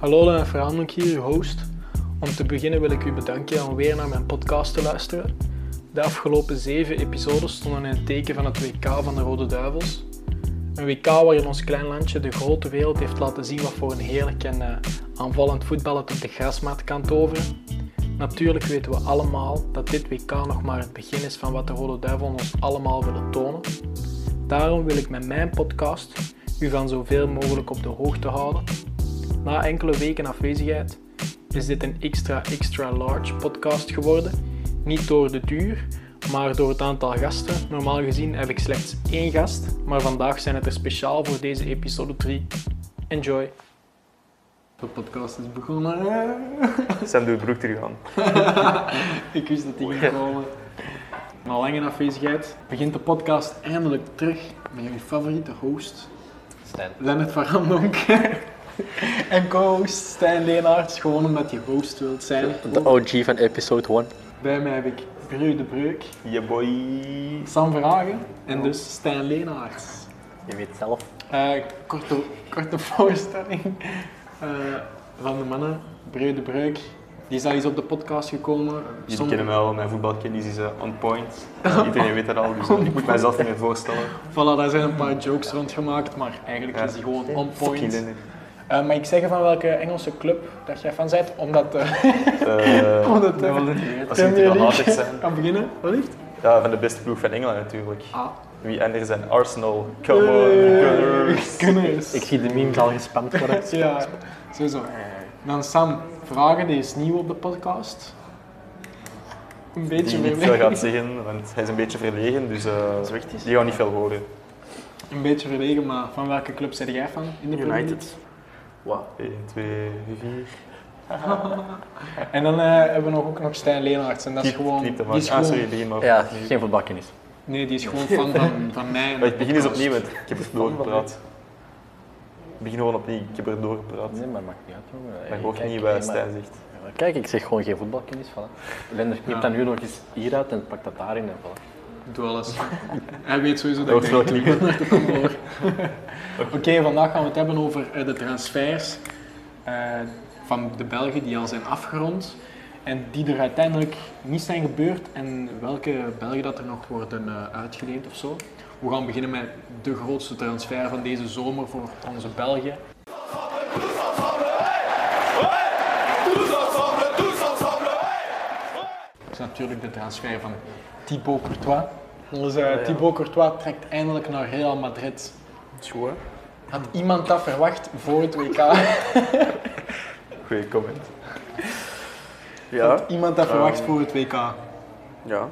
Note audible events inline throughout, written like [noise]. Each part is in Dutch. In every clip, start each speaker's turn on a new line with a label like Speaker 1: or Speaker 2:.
Speaker 1: Hallo Lennart Verhandelink hier, uw host. Om te beginnen wil ik u bedanken om weer naar mijn podcast te luisteren. De afgelopen zeven episodes stonden in het teken van het WK van de Rode Duivels. Een WK waarin ons klein landje de grote wereld heeft laten zien wat voor een heerlijk en eh, aanvallend voetbal het op de grasmat kan toveren. Natuurlijk weten we allemaal dat dit WK nog maar het begin is van wat de Rode Duivels ons allemaal willen tonen. Daarom wil ik met mijn podcast u van zoveel mogelijk op de hoogte houden. Na enkele weken afwezigheid is dit een extra extra large podcast geworden. Niet door de duur, maar door het aantal gasten. Normaal gezien heb ik slechts één gast, maar vandaag zijn het er speciaal voor deze episode 3. Enjoy! De podcast is begonnen.
Speaker 2: Sam doet broek terug aan.
Speaker 1: ik wist dat die ging komen. Na lange afwezigheid begint de podcast eindelijk terug met jullie favoriete host,
Speaker 3: Stijn.
Speaker 1: Lennart van Randonk. [laughs] en co-host Stijn Leenaerts, gewoon omdat je host wilt zijn.
Speaker 3: De OG van episode 1.
Speaker 1: Bij mij heb ik Bru de Breuk,
Speaker 2: Je boy.
Speaker 1: Sam Verhagen en
Speaker 2: Oh.
Speaker 1: dus Stijn Leenaerts.
Speaker 3: Je weet zelf.
Speaker 1: Eh, korte, korte voorstelling eh, van de mannen. Bru de Breuk, die is al eens op de podcast gekomen.
Speaker 2: Jullie
Speaker 1: Somm-
Speaker 2: kennen mij al, mijn voetbalkennis is eh, on point. Eh, iedereen weet dat al, dus ik moet mijzelf niet meer
Speaker 1: [laughs]
Speaker 2: voorstellen.
Speaker 1: Voilà, daar zijn een paar jokes rondgemaakt, maar eigenlijk is die gewoon on
Speaker 2: Fucking
Speaker 1: point.
Speaker 2: Lennon.
Speaker 1: Eh, mag ik zeggen van welke Engelse club dat jij van bent? Omdat... eh [laughs]
Speaker 2: Eh,
Speaker 1: Oh, dat, eh,
Speaker 2: wel, dat- Als je
Speaker 1: Premier
Speaker 2: niet wel
Speaker 1: League
Speaker 2: hatig
Speaker 1: [laughs]
Speaker 2: zijn.
Speaker 1: kan beginnen, wellicht?
Speaker 2: Ja, van de beste ploeg van Engeland natuurlijk.
Speaker 1: Ah.
Speaker 2: Wie anders dan Arsenal? Come on,
Speaker 1: Hey,
Speaker 2: gunners.
Speaker 1: [laughs] Gunners.
Speaker 3: Ik zie de memes al gespamd worden.
Speaker 1: Ja, sowieso. Dan Sam, vragen, die is nieuw op de podcast. Een beetje
Speaker 2: Die niet
Speaker 1: verlegen.
Speaker 2: veel gaat zeggen, want hij is een beetje verlegen, dus eh, die gaat niet veel horen.
Speaker 1: [laughs] Een beetje verlegen, maar van welke club zit jij van in de Premier
Speaker 3: [laughs] United. Wow.
Speaker 2: 1, 2, 4.
Speaker 1: League? En dan eh, hebben we nog, ook nog Stijn Leenaerts. En dat is gewoon...
Speaker 2: Keep te
Speaker 1: die is
Speaker 2: maken. Ah,
Speaker 1: gewoon-
Speaker 2: sorry, begin maar.
Speaker 3: Ja,
Speaker 2: opnieuw.
Speaker 3: geen voetbalkennis.
Speaker 1: Nee, die is gewoon fan van, van mij. en
Speaker 2: Maar
Speaker 1: de
Speaker 2: Oh, ik begin eens
Speaker 1: podcast.
Speaker 2: opnieuw, want ik heb er doorgepraat. Ik begin gewoon opnieuw, ik heb er doorgepraat.
Speaker 3: Nee, maar maakt niet uit, jongen.
Speaker 2: Maar
Speaker 3: Ik
Speaker 2: ook
Speaker 3: kijk
Speaker 2: niet
Speaker 3: alleen
Speaker 2: wat
Speaker 3: maar-
Speaker 2: Stijn zegt.
Speaker 3: Kijk, ik zeg gewoon geen voetbalkennis. Voilà. Lender knipt
Speaker 1: Ja.
Speaker 3: dan nu nog eens hieruit en pakt dat daarin en voilà.
Speaker 1: Ik doe alles. Hij weet sowieso
Speaker 2: Dat
Speaker 1: dat
Speaker 2: wordt
Speaker 1: ik
Speaker 2: wel
Speaker 1: denk
Speaker 2: knippen. [laughs]
Speaker 1: Oké, vandaag gaan we het hebben over eh, de transfers eh, van de Belgen die al zijn afgerond. En die er uiteindelijk niet zijn gebeurd en welke Belgen dat er nog worden eh, uitgeleend of zo. We gaan beginnen met de grootste transfer van deze zomer voor onze Belgen. Dat is natuurlijk de transfer van Thibaut Courtois. Onze Thibaut Courtois trekt eindelijk naar Real Madrid.
Speaker 2: Tjoe.
Speaker 1: Had iemand dat verwacht voor het WK?
Speaker 2: Goeie comment. Ja,
Speaker 1: [laughs] Iemand dat verwacht
Speaker 4: Ah.
Speaker 1: voor het WK?
Speaker 2: ja.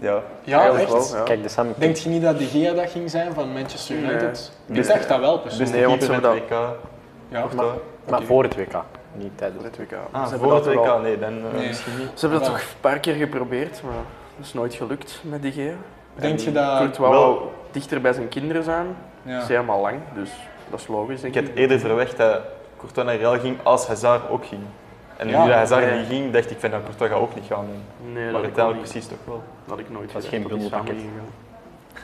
Speaker 2: Ja,
Speaker 1: Ja, echt?
Speaker 3: Kijk, de Sam...
Speaker 1: Denkt je niet dat de Gea dat ging zijn van Manchester United? Ik dacht dat wel persoonlijk.
Speaker 2: Nee, want ze
Speaker 4: hebben
Speaker 2: WK.
Speaker 4: Dus-
Speaker 1: Ja,
Speaker 2: Of
Speaker 1: maar-
Speaker 2: dat-
Speaker 3: Maar voor het WK. Niet tijdens het
Speaker 4: Het WK.
Speaker 2: Ah,
Speaker 4: ze, hebben
Speaker 2: voor
Speaker 4: dat
Speaker 2: het
Speaker 4: toch al-
Speaker 2: WK, nee, dan eh,
Speaker 1: Nee.
Speaker 2: misschien niet.
Speaker 4: ze hebben dat
Speaker 1: Wel.
Speaker 4: toch een paar keer geprobeerd, maar dat is nooit gelukt met die Gea.
Speaker 1: Denk
Speaker 4: En
Speaker 1: je dat-
Speaker 4: Courtois
Speaker 2: Wel-
Speaker 4: wou dichter bij zijn kinderen zijn,
Speaker 1: ja.
Speaker 4: is helemaal lang, dus dat is logisch.
Speaker 2: Ik
Speaker 4: Denk
Speaker 2: had eerder verwacht dat Courtois naar Real ging als Hazard ook ging. En nu
Speaker 1: Ja,
Speaker 2: dat Hazard
Speaker 4: nee.
Speaker 2: niet ging, dacht ik van nou, Courtois gaat ook niet gaan. En-
Speaker 4: Nee,
Speaker 2: maar
Speaker 4: dat, had ik
Speaker 2: uiteindelijk
Speaker 4: wel niet-
Speaker 2: precies toch wel.
Speaker 4: dat had ik nooit
Speaker 3: Dat is geen
Speaker 4: gedacht dat die samen
Speaker 3: bundelpakket.
Speaker 4: gingen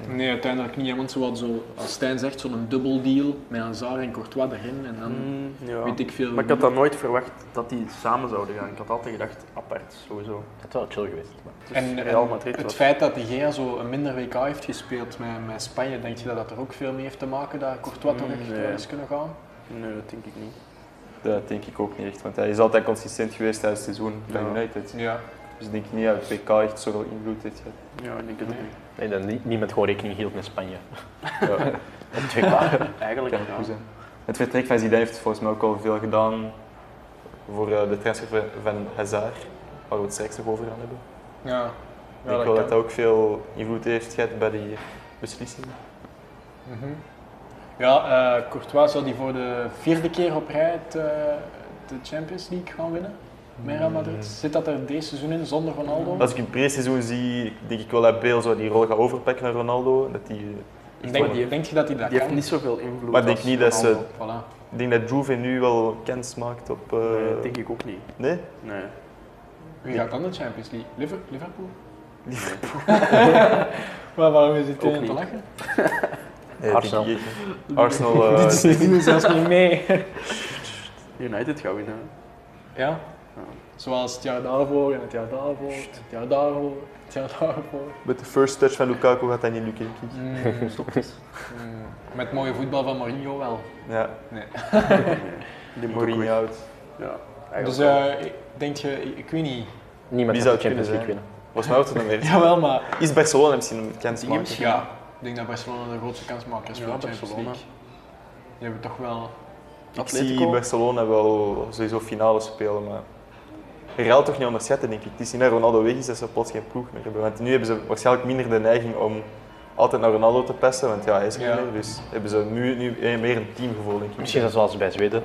Speaker 4: gaan.
Speaker 1: Nee, uiteindelijk niet. hè, Want zoals zo, als Stijn zegt, zo'n dubbeldeal met Hazard en Courtois erin. En dan
Speaker 4: Mm, ja.
Speaker 1: weet ik veel.
Speaker 4: Maar ik had dat nooit verwacht dat die samen zouden gaan. Ik had altijd gedacht apart, sowieso.
Speaker 3: Dat is wel chill geweest. maar-
Speaker 4: Dus
Speaker 1: en,
Speaker 4: Real
Speaker 1: en
Speaker 4: Madrid
Speaker 1: het
Speaker 4: was...
Speaker 1: feit dat de Gea zo een minder WK heeft gespeeld met, met Spanje, denk je dat dat er ook veel mee heeft te maken dat Courtois toch echt
Speaker 4: Mm, Nee.
Speaker 1: wel eens kunnen gaan?
Speaker 4: Nee, dat denk ik niet.
Speaker 2: Dat denk ik ook niet echt, want hij is altijd consistent geweest tijdens het seizoen bij
Speaker 4: Ja.
Speaker 2: United.
Speaker 1: Ja.
Speaker 2: Dus ik denk niet dat het WK echt zoveel invloed
Speaker 1: [laughs]
Speaker 2: heeft gehad.
Speaker 4: Ja, ik denk het ook
Speaker 1: Nee.
Speaker 4: niet.
Speaker 3: Nee, dat nie- niemand gewoon rekening hield met Spanje.
Speaker 2: Ja.
Speaker 3: [laughs] Het [laughs] WK.
Speaker 4: Eigenlijk
Speaker 2: Kan ook
Speaker 4: ja.
Speaker 2: goed zijn. Het vertrek van Zidane heeft volgens mij ook al veel gedaan voor eh, de transfer van- van Hazard, waar we het straks nog over gaan hebben.
Speaker 1: Ja.
Speaker 2: ik denk wel dat dat ook veel invloed heeft gehad bij die beslissing.
Speaker 1: Mhm. Ja, eh, Courtois zal die voor de vierde keer op rij het, eh, de Champions League gaan winnen. Met Real
Speaker 4: Mm.
Speaker 1: Madrid. Zit dat er deze seizoen in zonder Ronaldo?
Speaker 2: Mm. Als ik het pre-seizoen zie, denk ik wel dat Bale zo die rol gaat overpakken naar Ronaldo. Dat die,
Speaker 1: Ik denk,
Speaker 4: die-
Speaker 1: denk je dat hij dat
Speaker 4: Die
Speaker 1: kan? Oh,
Speaker 4: heeft niet zoveel invloed
Speaker 2: Maar ik denk
Speaker 4: als
Speaker 2: niet dat ze-
Speaker 4: Ronaldo.
Speaker 1: Voilà.
Speaker 2: ik denk dat Juve nu wel kans maakt op... eh,
Speaker 4: Nee, dat denk ik ook niet.
Speaker 2: Nee?
Speaker 4: Nee.
Speaker 2: [laughs]
Speaker 1: Wie gaat dan de Champions League? Liver- Liverpool?
Speaker 4: Liverpool.
Speaker 1: maar waarom is dit
Speaker 4: Ook
Speaker 1: tegen te [laughs]
Speaker 4: niet.
Speaker 1: lachen?
Speaker 2: Nee, dat
Speaker 3: Arsenal.
Speaker 4: [laughs]
Speaker 2: denk ik echt niet. Arsenal... eh,
Speaker 1: Dit is zelfs niet mee.
Speaker 4: United gaat winnen. hè.
Speaker 2: [laughs]
Speaker 1: Ja? Zoals het jaar daarvoor en het jaar daarvoor, en het jaar daarvoor, het jaar daarvoor.
Speaker 2: Met de first touch van Lukaku gaat hij niet lukken. denk
Speaker 4: [laughs]
Speaker 2: ik.
Speaker 1: Mm, mm. Met mooie voetbal van Mourinho wel.
Speaker 2: Ja,
Speaker 4: Die moet ook
Speaker 2: Mourinho
Speaker 4: weg.
Speaker 2: out.
Speaker 4: Ja, eigenlijk
Speaker 1: Dus
Speaker 4: wel.
Speaker 1: eh, ik- denk je, ik, ik weet niet.
Speaker 3: Niemand
Speaker 2: Wie
Speaker 3: gaat
Speaker 2: zou
Speaker 3: de
Speaker 2: het
Speaker 3: Champions League
Speaker 2: kunnen
Speaker 3: winnen.
Speaker 2: Volgens mij wordt het een weer.
Speaker 1: Jawel, maar
Speaker 2: Is Barcelona misschien een kans
Speaker 4: Die
Speaker 2: maken?
Speaker 4: misschien-
Speaker 1: ja, ik denk dat Barcelona de grootste kans maakt is
Speaker 4: Ja,
Speaker 1: voor de Champions
Speaker 4: Barcelona.
Speaker 1: League. Die hebben toch wel...
Speaker 2: Ik
Speaker 4: Atletico.
Speaker 2: zie Barcelona wel sowieso finale spelen, maar Real toch niet onderschatten, denk ik. Het is niet dat Ronaldo weg is dat ze plots geen ploeg meer hebben. Want nu hebben ze waarschijnlijk minder de neiging om altijd naar Ronaldo te passen, want ja, hij is er
Speaker 1: Ja.
Speaker 2: niet meer. Dus hebben ze nu, nu eh, meer een teamgevoel, denk ik.
Speaker 3: Misschien is dat zoals bij Zweden.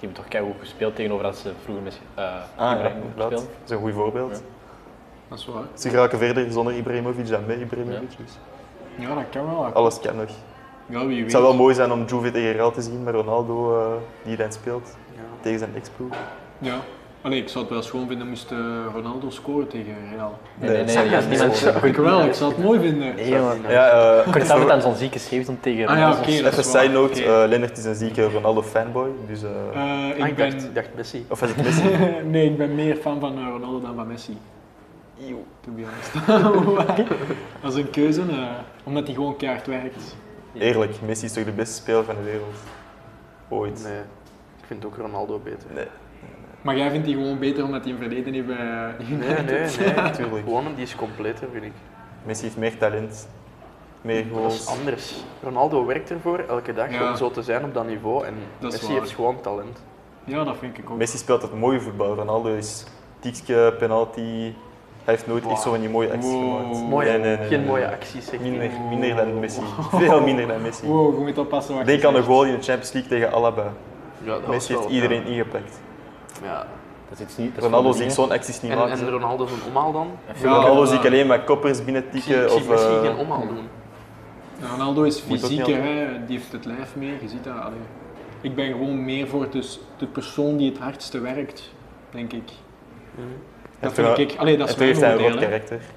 Speaker 3: Die hebben toch keihard gespeeld tegenover dat ze vroeger met eh
Speaker 2: Ah, ja,
Speaker 3: Ibrahimovic
Speaker 2: inderdaad.
Speaker 3: speelden.
Speaker 2: Dat is een goed voorbeeld.
Speaker 3: Ja.
Speaker 1: Dat is waar.
Speaker 2: Ze geraken verder zonder Ibrahimovic dan met Ibrahimovic. Dus
Speaker 1: Ja, dat kan wel.
Speaker 2: alles kan nog.
Speaker 1: Ja, wie
Speaker 2: Het
Speaker 1: weet.
Speaker 2: zou wel mooi zijn om Juve tegen Real te zien, maar Ronaldo eh, die dan speelt
Speaker 1: eh,
Speaker 4: Ja.
Speaker 2: tegen zijn ex-ploeg.
Speaker 1: Ja. Allee, ik zou het wel schoon vinden moest eh, Ronaldo scoren tegen Real.
Speaker 3: Nee, nee,
Speaker 2: dat
Speaker 3: nee. nee,
Speaker 2: zou
Speaker 3: dat is niemand.
Speaker 2: zo.
Speaker 1: Ik wel, ik zou het mooi vinden.
Speaker 3: Nee, man.
Speaker 2: Ja, eh,
Speaker 3: Ik kan het aan zo'n zieke scheef doen tegen dus
Speaker 1: Ah ja,
Speaker 3: Ronaldo.
Speaker 1: oké. dat
Speaker 2: Even
Speaker 1: is waar.
Speaker 2: side note,
Speaker 1: Oké.
Speaker 2: eh, Lennart is een zieke Ronaldo-fanboy, dus... eh,
Speaker 1: Eh,
Speaker 4: Ah,
Speaker 1: ik
Speaker 4: ik dacht,
Speaker 1: ben...
Speaker 4: ik dacht Messi.
Speaker 2: Of is het Messi?
Speaker 1: [laughs] nee, ik ben meer fan van eh, Ronaldo dan van Messi. To be honest. [laughs] dat is een keuze, eh, omdat hij gewoon keihard werkt.
Speaker 2: Eerlijk, Messi is toch de beste speler van de wereld? Ooit.
Speaker 4: Nee, ik vind ook Ronaldo beter.
Speaker 2: Nee.
Speaker 1: Maar jij vindt die gewoon beter omdat hij een verleden heeft eh, bij
Speaker 4: [laughs] Nee, nee, nee.
Speaker 2: Natuurlijk.
Speaker 4: Gewoon die is completer, vind ik.
Speaker 2: Messi heeft meer talent, meer
Speaker 4: Dat is
Speaker 2: goals.
Speaker 4: anders. Ronaldo werkt ervoor elke dag
Speaker 1: Ja.
Speaker 4: om zo te zijn op dat niveau. En
Speaker 1: Dat is
Speaker 4: Messi
Speaker 1: waar.
Speaker 4: heeft gewoon talent.
Speaker 1: Ja, dat vind ik ook.
Speaker 2: Messi speelt het mooie voetbal, Ronaldo is tikje, penalty. Hij heeft nooit
Speaker 4: Wow.
Speaker 2: echt zo'n mooie actie
Speaker 1: Wow.
Speaker 2: gemaakt.
Speaker 4: Mooie,
Speaker 2: Nee, nee, nee,
Speaker 4: geen
Speaker 2: nee.
Speaker 4: mooie acties, zeg ik.
Speaker 2: Minder, minder dan Messi. [laughs] Veel minder dan Messi.
Speaker 1: Wow, je moet oppassen wat je
Speaker 2: Denk aan de
Speaker 1: zegt.
Speaker 2: goal in de Champions League tegen Alaba.
Speaker 4: Ja, dat was
Speaker 2: Messi heeft
Speaker 4: wel,
Speaker 2: iedereen ingepakt.
Speaker 4: Ja.
Speaker 3: Dat is iets niet. dat is
Speaker 2: Ronaldo
Speaker 3: voor
Speaker 2: zie ik
Speaker 3: de
Speaker 2: zo'n
Speaker 3: dingen.
Speaker 2: acties niet
Speaker 4: En,
Speaker 2: maken.
Speaker 4: en Ronaldo zijn omhaal dan?
Speaker 1: Ja,
Speaker 2: Ronaldo zie
Speaker 1: ja.
Speaker 2: ik alleen maar koppers binnen
Speaker 4: Ik zie,
Speaker 2: tikken.
Speaker 4: ik zie
Speaker 2: of,
Speaker 4: Messi
Speaker 2: eh,
Speaker 4: geen omhaal doen.
Speaker 1: Ronaldo is
Speaker 2: Moet ook niet
Speaker 1: fysieker, hè. die heeft het lijf mee, je ziet dat. Allee. Ik ben gewoon meer voor dus de persoon die het hardste werkt, denk ik.
Speaker 2: Hmm?
Speaker 1: Dat
Speaker 2: En
Speaker 1: vind ik. Allee, dat
Speaker 2: en
Speaker 1: is
Speaker 2: toen heeft hij
Speaker 1: mijn
Speaker 2: een rot
Speaker 1: oordeel. hè.
Speaker 2: karakter.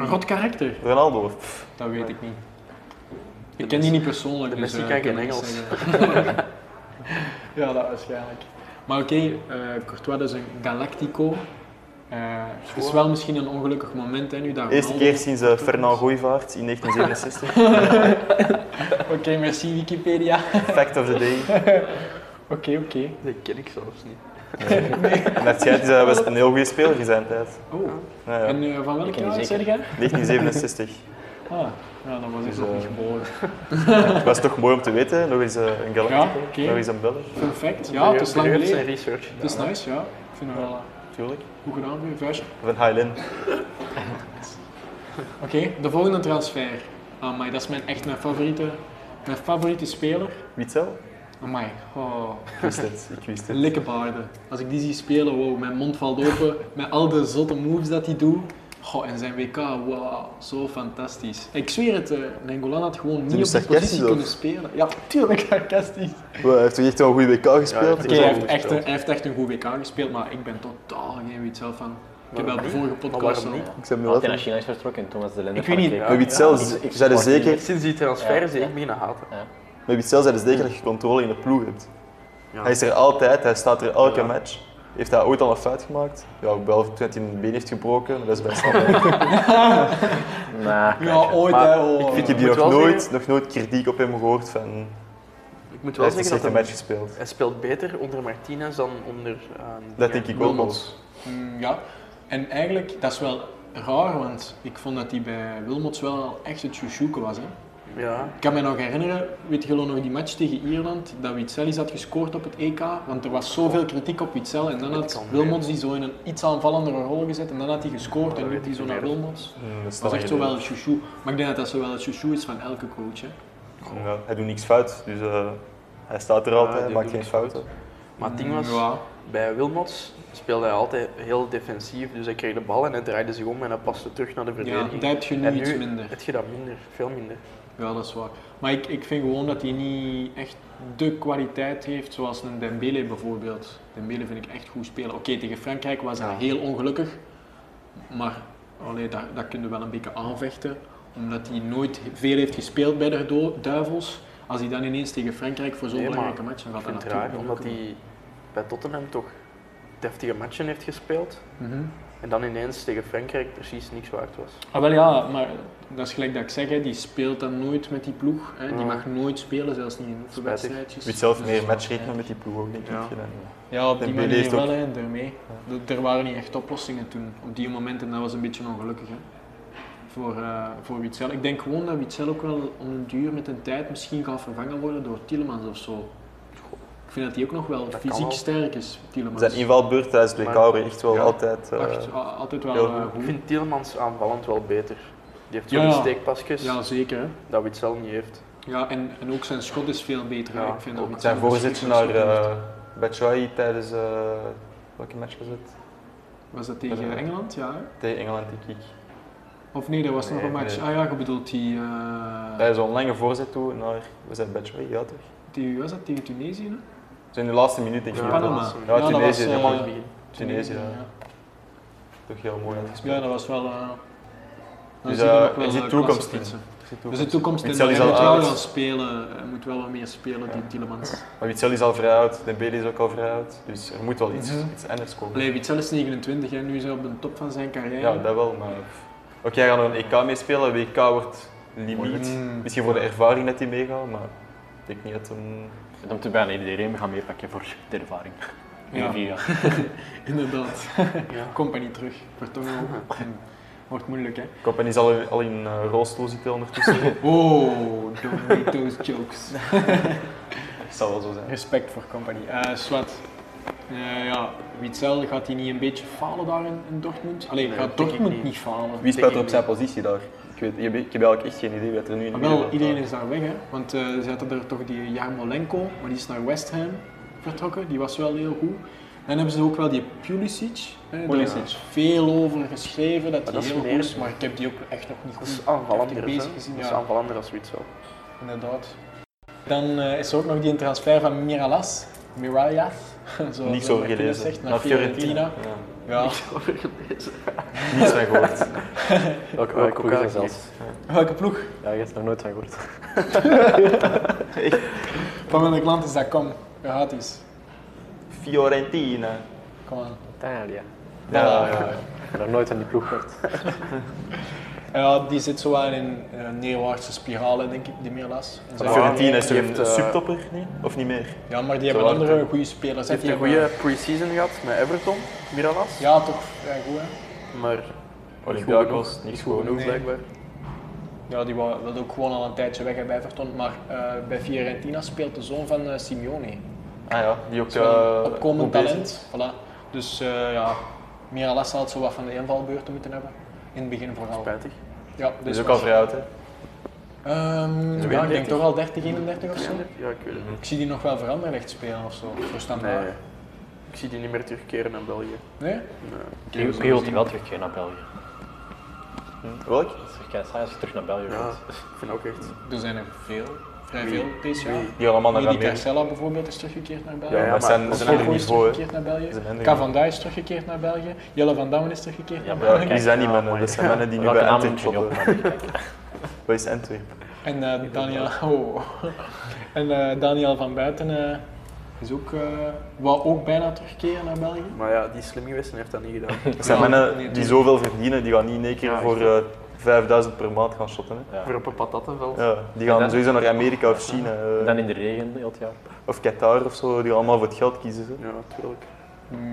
Speaker 1: Een rot karakter?
Speaker 2: Ronaldo, pff,
Speaker 1: Dat weet ik niet.
Speaker 4: De
Speaker 1: Ik ken die
Speaker 4: Messi-
Speaker 1: niet persoonlijk. dus,
Speaker 4: de Messi
Speaker 1: eh,
Speaker 4: kan
Speaker 1: ik kan
Speaker 4: geen
Speaker 1: niks
Speaker 4: Engels.
Speaker 1: zeggen. [laughs] ja, dat waarschijnlijk. Maar oké, eh, Courtois dat is een Galactico. Eh, het is wel misschien een ongelukkig moment hè, nu dat
Speaker 2: eerste
Speaker 1: Ronaldo-
Speaker 2: keer sinds eh, Fernand Gooivaart
Speaker 1: [laughs]
Speaker 2: in 1967.
Speaker 1: Oké, merci Wikipedia.
Speaker 2: Fact of the day.
Speaker 1: Oké, oké.
Speaker 4: Dat ken ik zelfs niet.
Speaker 2: En dat schijnt is hij was een heel goede speler in zijn tijd. Nou
Speaker 1: Oh.
Speaker 2: Ja, ja.
Speaker 1: En eh, van welk
Speaker 3: ken die
Speaker 1: jaar zeg
Speaker 3: zeker.
Speaker 1: jij?
Speaker 2: 1967.
Speaker 1: Ah, ja, dat was ik
Speaker 2: Dus,
Speaker 1: nog
Speaker 2: eh,
Speaker 1: niet geboren.
Speaker 2: Het was toch mooi om te weten. Nog eens eh, een Galactico,
Speaker 1: Ja, oké.
Speaker 2: nog eens een Beller.
Speaker 1: Fun fact. Ja, het is lang geleden.
Speaker 4: Serieus zijn research.
Speaker 1: Het is nice, ja. Ik vind het wel eh,
Speaker 2: Tuurlijk.
Speaker 1: goed gedaan voor je vuistje.
Speaker 2: Van Highland.
Speaker 1: Oké, de volgende transfer. Amai, dat is mijn, echt mijn favoriete, mijn favoriete speler.
Speaker 2: Witzel?
Speaker 1: Amai, oh,
Speaker 2: Ik wist het. Ik wist het.
Speaker 1: likkebaarden. Als ik die zie spelen, wow, mijn mond valt open. Met al de zotte moves dat hij doet. Goh, en zijn WK, wauw, zo fantastisch. Ik zweer het, eh Nengolan had gewoon niet
Speaker 2: nu
Speaker 1: op die
Speaker 2: sarcastisch,
Speaker 1: positie
Speaker 2: of?
Speaker 1: kunnen spelen. Ja, tuurlijk sarcastisch.
Speaker 2: Wow, hij heeft toch echt wel een goede WK gespeeld?
Speaker 4: Dus
Speaker 1: Oké, hij, heeft echt een- hij heeft echt een goed WK gespeeld, maar ik ben totaal geen weet zelf van. Ik heb wel de vorige podcast
Speaker 4: waarom
Speaker 1: al.
Speaker 4: niet?
Speaker 2: Ik zei me
Speaker 3: Want hij
Speaker 2: wel.
Speaker 3: naar China is vertrokken en toen was de Lender
Speaker 1: Ik weet niet,
Speaker 2: Met Witzel z- zeiden zeker,
Speaker 4: Sinds die transfer is ik beginnen haten.
Speaker 2: met Witzel zeiden zeker dat je controle in de ploeg hebt.
Speaker 4: Ja.
Speaker 2: Hij is er altijd, hij staat er elke
Speaker 4: Ja.
Speaker 2: match. Heeft hij ooit al een fout gemaakt? Ja, wel toen hij een been heeft gebroken, maar dat is bij [laughs] standaard.
Speaker 3: Nou, Nah,
Speaker 1: Ja, ooit
Speaker 4: Maar
Speaker 1: hè. oh.
Speaker 4: ik
Speaker 2: Ik
Speaker 4: vind
Speaker 2: heb hier
Speaker 4: moet
Speaker 2: nog
Speaker 4: wel
Speaker 2: nooit,
Speaker 4: zeggen-
Speaker 2: nog nooit kritiek op hem gehoord van
Speaker 4: Ik
Speaker 2: hij
Speaker 4: moet wel
Speaker 2: heeft een
Speaker 4: zeggen dat
Speaker 2: slechte
Speaker 4: hij,
Speaker 2: match gespeeld.
Speaker 4: hij speelt beter onder Martinez dan onder... eh,
Speaker 2: Dat
Speaker 4: dingen.
Speaker 2: denk ik ook wel.
Speaker 1: Wilmots. Mm, ja, en eigenlijk, dat is wel raar, want ik vond dat hij bij Wilmots wel al echt het chouchouken was. Hè.
Speaker 4: Ja.
Speaker 1: Ik kan me nog herinneren, weet je wel nog die match tegen Ierland, dat Witzelis had gescoord op het EK, want er was zoveel kritiek op Witzel en dan
Speaker 4: Dat
Speaker 1: had
Speaker 4: kan
Speaker 1: Wilmots die zo in een iets aanvallendere rol gezet en dan had hij gescoord en nu die zo naar Wilmots.
Speaker 2: Hmm, dat is
Speaker 1: Dat was
Speaker 2: lang
Speaker 1: echt zo wel
Speaker 2: geleden.
Speaker 1: het chouchou, maar ik denk dat dat zo wel het chouchou is van elke coach. Hè.
Speaker 2: Ja, hij doet niks fout, dus eh, hij staat er
Speaker 4: Ja,
Speaker 2: altijd,
Speaker 4: die
Speaker 2: maakt
Speaker 4: doet
Speaker 2: geen
Speaker 4: niks
Speaker 2: fouten.
Speaker 4: Maar het ding was,
Speaker 1: Mm, Ja,
Speaker 4: bij Wilmots speelde hij altijd heel defensief. Dus hij kreeg de bal en hij draaide zich om en hij paste terug naar de
Speaker 1: ja
Speaker 4: verdediging.
Speaker 1: daar heb je nu
Speaker 4: en
Speaker 1: iets
Speaker 4: nu
Speaker 1: minder.
Speaker 4: heb je dat minder, veel minder.
Speaker 1: Ja, dat is waar. Maar ik, ik vind gewoon dat hij niet echt de kwaliteit heeft zoals een Dembele bijvoorbeeld. Dembele vind ik echt goed spelen. Oké, tegen Frankrijk was hij
Speaker 4: Ja.
Speaker 1: heel ongelukkig. Maar allee, dat, dat kun je wel een beetje aanvechten. Omdat hij nooit veel heeft gespeeld bij de du- Duivels. Als hij dan ineens tegen Frankrijk voor zo'n
Speaker 4: Nee, maar
Speaker 1: belangrijke match, dan gaat
Speaker 4: Ik
Speaker 1: dat
Speaker 4: vind het
Speaker 1: natuurlijk niet
Speaker 4: raar, omdat
Speaker 1: lukken.
Speaker 4: hij bij Tottenham toch deftige matchen heeft gespeeld.
Speaker 1: Mhm.
Speaker 4: En dan ineens tegen Frankrijk precies niks waard was.
Speaker 1: Ah, wel ja, maar dat is gelijk dat ik zeg, hè, die speelt dan nooit met die ploeg. Hè. Die
Speaker 4: Ja.
Speaker 1: mag nooit spelen, zelfs niet in oefenwedstrijdjes.
Speaker 2: Mm. Je moet zelf
Speaker 1: Dus
Speaker 2: meer
Speaker 1: dat is
Speaker 2: matchritme met die ploeg ook, denk ik.
Speaker 4: Ja.
Speaker 2: je dan. eh.
Speaker 1: Ja, op die
Speaker 2: Dembele
Speaker 1: manier
Speaker 2: heeft ook-
Speaker 1: wel, hè, daarmee. D- Er waren niet echt oplossingen toen, op die momenten. Dat was een beetje ongelukkig, hè. Voor, eh voor Witzel. Ik denk gewoon dat Witzel ook wel om een duur met een tijd misschien gaat vervangen worden door Tielemans of zo. Ik vind dat hij ook nog wel
Speaker 4: Dat kan
Speaker 1: fysiek
Speaker 4: wel.
Speaker 1: sterk is, Tielemans.
Speaker 2: Zijn invalbeurt tijdens de WK
Speaker 4: Maar-
Speaker 2: waren echt wel
Speaker 4: Ja.
Speaker 2: altijd... eh,
Speaker 1: Echt, a- altijd wel
Speaker 2: heel
Speaker 1: eh,
Speaker 2: goed.
Speaker 1: goed.
Speaker 4: Ik vind Tielemans aanvallend wel beter. Die heeft zo'n
Speaker 1: Ja, ja.
Speaker 4: steekpasjes
Speaker 1: Ja, zeker. Hè.
Speaker 4: dat Witzel niet heeft.
Speaker 1: Ja, en, en ook zijn schot is veel beter. hè.
Speaker 4: Ja,
Speaker 1: ik vind dat
Speaker 4: ook.
Speaker 1: Witzel
Speaker 2: zijn
Speaker 1: een
Speaker 2: voorzetje
Speaker 1: schitterend
Speaker 2: naar
Speaker 1: schot heeft.
Speaker 2: eh Batshuayi tijdens... eh, welke match was het?
Speaker 1: Was dat tegen
Speaker 2: Eh,
Speaker 1: Engeland? Ja. hè?
Speaker 2: Tegen Engeland, denk ik.
Speaker 1: Of nee, dat was nog
Speaker 2: nee,
Speaker 1: een match.
Speaker 2: nee.
Speaker 1: Ah ja, je bedoelt die. eh,
Speaker 2: Tijdens een lange voorzet toe naar... Was dat Batshuayi? Ja, toch?
Speaker 1: die wie was dat tegen Tunesië? hè?
Speaker 2: Zo in de laatste minuut, denk ik.
Speaker 4: Ja.
Speaker 1: Panama.
Speaker 4: dat was-
Speaker 2: Ja,
Speaker 1: dat
Speaker 2: Tunesië,
Speaker 1: was, eh,
Speaker 2: dat mag
Speaker 4: Begin.
Speaker 2: Tunesië, ja. Toch heel mooi uitgespeeld.
Speaker 1: Ja, dat was wel. eh dan
Speaker 2: Dus,
Speaker 1: zie je
Speaker 2: eh,
Speaker 1: ook wel
Speaker 2: er zit
Speaker 1: eh,
Speaker 2: toekomst
Speaker 1: klasse
Speaker 2: in.
Speaker 1: spitsen.
Speaker 2: Er
Speaker 1: Er zit toekomst in.
Speaker 2: Witzel
Speaker 1: Hij
Speaker 2: is
Speaker 1: moet
Speaker 2: al
Speaker 1: wel wel
Speaker 2: oud.
Speaker 1: spelen. eh, Hij moet wel wat meer spelen, die Tielemans.
Speaker 2: Maar Witzel is al vrij oud. Dembele is ook al vrij oud. Dus er moet wel iets,
Speaker 1: Mhm.
Speaker 2: iets anders komen.
Speaker 1: Allee, Witzel is 29 en nu is hij op de top van zijn carrière.
Speaker 2: Ja, dat wel, maar... Oké, hij gaat nog een EK meespelen. WK wordt limiet.
Speaker 1: Mm.
Speaker 2: Misschien voor de ervaring dat hij meegaat, maar... Ik denk niet dat hem...
Speaker 3: Het om te bijna iedereen gaan meepakken voor de ervaring.
Speaker 1: Ja.
Speaker 3: Ja. ja.
Speaker 1: Inderdaad.
Speaker 4: Ja.
Speaker 1: Company terug. Vertongen.
Speaker 2: [laughs]
Speaker 1: Wordt moeilijk, hè?
Speaker 2: Company zal al- al in eh, rolstoel zitten [laughs] ondertussen.
Speaker 1: Oh, don't make [laughs] those jokes.
Speaker 2: Dat zal wel zo zijn.
Speaker 1: Respect voor Company. Eh Swat. Eh, ja, Witzel, gaat hij niet een beetje falen daar in, in Dortmund? Allee,
Speaker 4: Nee,
Speaker 1: gaat
Speaker 4: dat denk
Speaker 1: Dortmund
Speaker 4: ik
Speaker 1: niet.
Speaker 4: niet.
Speaker 1: falen?
Speaker 2: Wie
Speaker 4: speelt
Speaker 2: speelt
Speaker 4: er
Speaker 2: er op
Speaker 4: Denk ik
Speaker 2: zijn positie daar? Ik, weet, ik, heb, eigenlijk echt geen idee wat er nu in
Speaker 1: Maar Ah, wel, iedereen is daar weg, hè? Want eh, ze hadden er toch die Jarmolenko, maar die is naar West Ham vertrokken. Die was wel heel goed. Dan hebben ze ook wel die Pulisic. Hè? Daar
Speaker 2: Pulisic.
Speaker 1: is veel over geschreven dat hij
Speaker 4: Oh Maar dat is
Speaker 1: heel goed
Speaker 4: meer-
Speaker 1: is, maar ik heb die ook echt nog niet
Speaker 4: Dat
Speaker 1: goed
Speaker 4: is
Speaker 1: Ik
Speaker 4: aanvallender.
Speaker 1: heb die
Speaker 4: hè.
Speaker 1: bezig gezien,
Speaker 4: Dat is
Speaker 1: ja.
Speaker 4: aanvallender als [laughs] Witzel.
Speaker 1: Inderdaad. Dan eh, is er ook nog die transfer van Miralas. [laughs] Mirallas. zoals
Speaker 2: Niet zo
Speaker 1: Martinez
Speaker 2: gelezen.
Speaker 1: Zegt, naar, Fiorentina. Ja.
Speaker 2: Ja, niets van gehoord.
Speaker 3: Welke,
Speaker 4: welke ploeg is dat
Speaker 3: zelfs?
Speaker 1: [laughs] Welke ploeg?
Speaker 3: Ja, je hebt er nog nooit van gehoord.
Speaker 1: Van welk land is dat? Kom, gratis.
Speaker 2: [laughs] Fiorentina.
Speaker 1: Kom aan.
Speaker 3: Italia.
Speaker 2: Ja, ja, ja.
Speaker 3: Ik heb nog nooit van die ploeg gehoord.
Speaker 1: Ja, die zit zo wel in een eh, neerwaartse spiralen, denk ik, die Miralas. En
Speaker 2: Maar
Speaker 1: zo-
Speaker 2: Fiorentina is toch
Speaker 4: Die
Speaker 2: een
Speaker 4: heeft, eh,
Speaker 2: subtopper, nee? Of niet meer?
Speaker 1: Ja, maar die hebben
Speaker 2: Zo hard,
Speaker 1: andere
Speaker 2: hè.
Speaker 1: goede spelers.
Speaker 4: Hij
Speaker 1: hè.
Speaker 4: heeft eh, een
Speaker 1: Die
Speaker 4: goede pre-season gehad met Everton, Miralas.
Speaker 1: hebben- Ja, toch vrij goed, hè.
Speaker 4: Maar
Speaker 2: Olympiakos, niks
Speaker 4: goed
Speaker 2: gewoon.
Speaker 4: genoeg
Speaker 1: Nee.
Speaker 4: blijkbaar.
Speaker 1: Ja, die wa- wilde ook gewoon al een tijdje weg hè, bij Everton. Maar eh, bij Fiorentina speelt de zoon van eh, Simeone.
Speaker 2: Ah ja, die ook...
Speaker 1: Dat is wel een
Speaker 2: eh,
Speaker 1: opkomend
Speaker 2: goed bezig
Speaker 1: talent. Voilà. Dus eh ja, Miralas had zo wat van de invalbeurten moeten hebben. In het begin vooral.
Speaker 4: Spijtig.
Speaker 1: Ja,
Speaker 2: Die is
Speaker 1: dus
Speaker 2: ook al vrij oud, hè?
Speaker 1: Ehm, ja, ik denk
Speaker 4: 32.
Speaker 1: toch al 30, 31 of zo.
Speaker 4: Ja, ik weet het niet.
Speaker 1: Ik zie die nog wel veranderen echt spelen of zo. Voor standaard.
Speaker 4: Nee. Ik zie die niet meer terugkeren naar België.
Speaker 1: Nee?
Speaker 4: Nee.
Speaker 3: Ik wil wel terugkeren naar België.
Speaker 2: Welk?
Speaker 3: Dat is echt kei saai als je terug naar België
Speaker 4: Ja,
Speaker 3: gaat.
Speaker 4: ik vind ook echt.
Speaker 1: Er zijn er veel. Vrij
Speaker 4: Wie?
Speaker 1: veel deze jaar.
Speaker 4: Wie?
Speaker 2: Die allemaal naar
Speaker 1: Rudy
Speaker 2: Amerika.
Speaker 1: Carcella bijvoorbeeld is teruggekeerd naar België.
Speaker 2: Ja,
Speaker 4: Ja,
Speaker 2: maar zijn,
Speaker 4: maar-
Speaker 2: zijn ander
Speaker 1: Sokko is
Speaker 2: niveau, hè?
Speaker 1: teruggekeerd naar België.
Speaker 2: Dat is een ander
Speaker 1: Cavanda is teruggekeerd naar België. Jelle van Damme is teruggekeerd
Speaker 3: Ja,
Speaker 1: naar
Speaker 3: maar
Speaker 2: Ja,
Speaker 1: België.
Speaker 2: die zijn niet
Speaker 3: Ja,
Speaker 2: mannen.
Speaker 3: mooi.
Speaker 2: Dat zijn mannen die nu
Speaker 3: Welke
Speaker 2: bij
Speaker 3: namen
Speaker 2: Antwerp
Speaker 3: moet je
Speaker 2: shoppen. Wat is Antwerp?
Speaker 1: En eh, Daniel, [laughs] oh. en, eh, Daniel van Buiten eh, is ook, eh wou ook bijna terugkeren naar België.
Speaker 4: Maar ja, die slimmiewissen heeft dat niet gedaan.
Speaker 2: Dat zijn
Speaker 1: Ja, nee,
Speaker 2: mannen die
Speaker 1: tuurlijk.
Speaker 2: zoveel verdienen, die gaan niet in één keer
Speaker 4: Ja,
Speaker 2: voor eh, 5000 per maand gaan shotten. Hè.
Speaker 4: [laughs] [laughs] Voor op een patattenveld.
Speaker 2: Ja, die gaan
Speaker 3: dan-
Speaker 2: sowieso naar Amerika of China eh,
Speaker 3: Dan in de regen heel het jaar.
Speaker 2: of Qatar of zo, die gaan allemaal voor het geld kiezen. Hè.
Speaker 4: Ja, natuurlijk.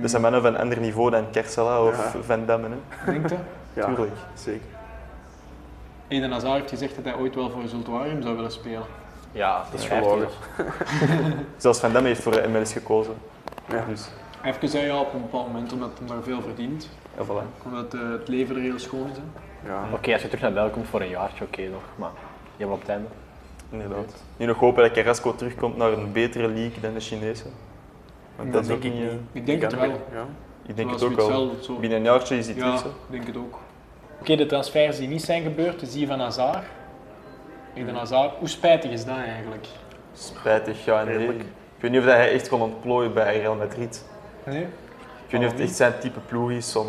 Speaker 2: Dat zijn mannen van een ander niveau dan Kersela of
Speaker 4: Ja.
Speaker 2: Van Damme. Hè.
Speaker 1: Denk je?
Speaker 4: Ja,
Speaker 2: Tuurlijk.
Speaker 4: zeker.
Speaker 1: [laughs] Eden Hazard heeft gezegd dat hij ooit wel voor Zultuarium zou willen spelen.
Speaker 3: Ja, dat
Speaker 4: is verloren.
Speaker 2: Zelfs Van Damme heeft voor de MLS gekozen.
Speaker 4: Ja.
Speaker 2: Dus,
Speaker 1: Even zei ja op een bepaald moment, omdat hij daar veel verdient.
Speaker 2: ja, voilà.
Speaker 1: Omdat eh, het leven er heel schoon is. Hè.
Speaker 4: Ja.
Speaker 3: Oké, als je terug naar België komt voor een jaartje, oké nog. Maar helemaal op het einde.
Speaker 2: Inderdaad. Nu nog hopen dat Carrasco terugkomt naar een betere league dan de Chinese. Want dat is
Speaker 4: denk
Speaker 2: ook
Speaker 4: ik
Speaker 2: niet... eh,
Speaker 4: niet.
Speaker 1: Ik denk het
Speaker 4: Ja,
Speaker 1: wel.
Speaker 4: Ja.
Speaker 2: Ik denk
Speaker 1: Zoals
Speaker 2: het ook wel.
Speaker 1: Witzel, zo-
Speaker 2: Binnen een jaartje is hij
Speaker 1: Ja,
Speaker 2: terug.
Speaker 1: ik
Speaker 2: zo.
Speaker 1: denk het ook. Oké, de transfers die niet zijn gebeurd, is die van Hazard. Eden Hazard, hoe spijtig is dat eigenlijk?
Speaker 2: Spijtig, ja. Nee.
Speaker 4: Redelijk.
Speaker 2: Ik weet niet of dat hij echt kon ontplooien bij Real Madrid.
Speaker 1: Nee?
Speaker 2: Ik weet niet
Speaker 1: Oh,
Speaker 2: of het echt zijn type ploeg is om...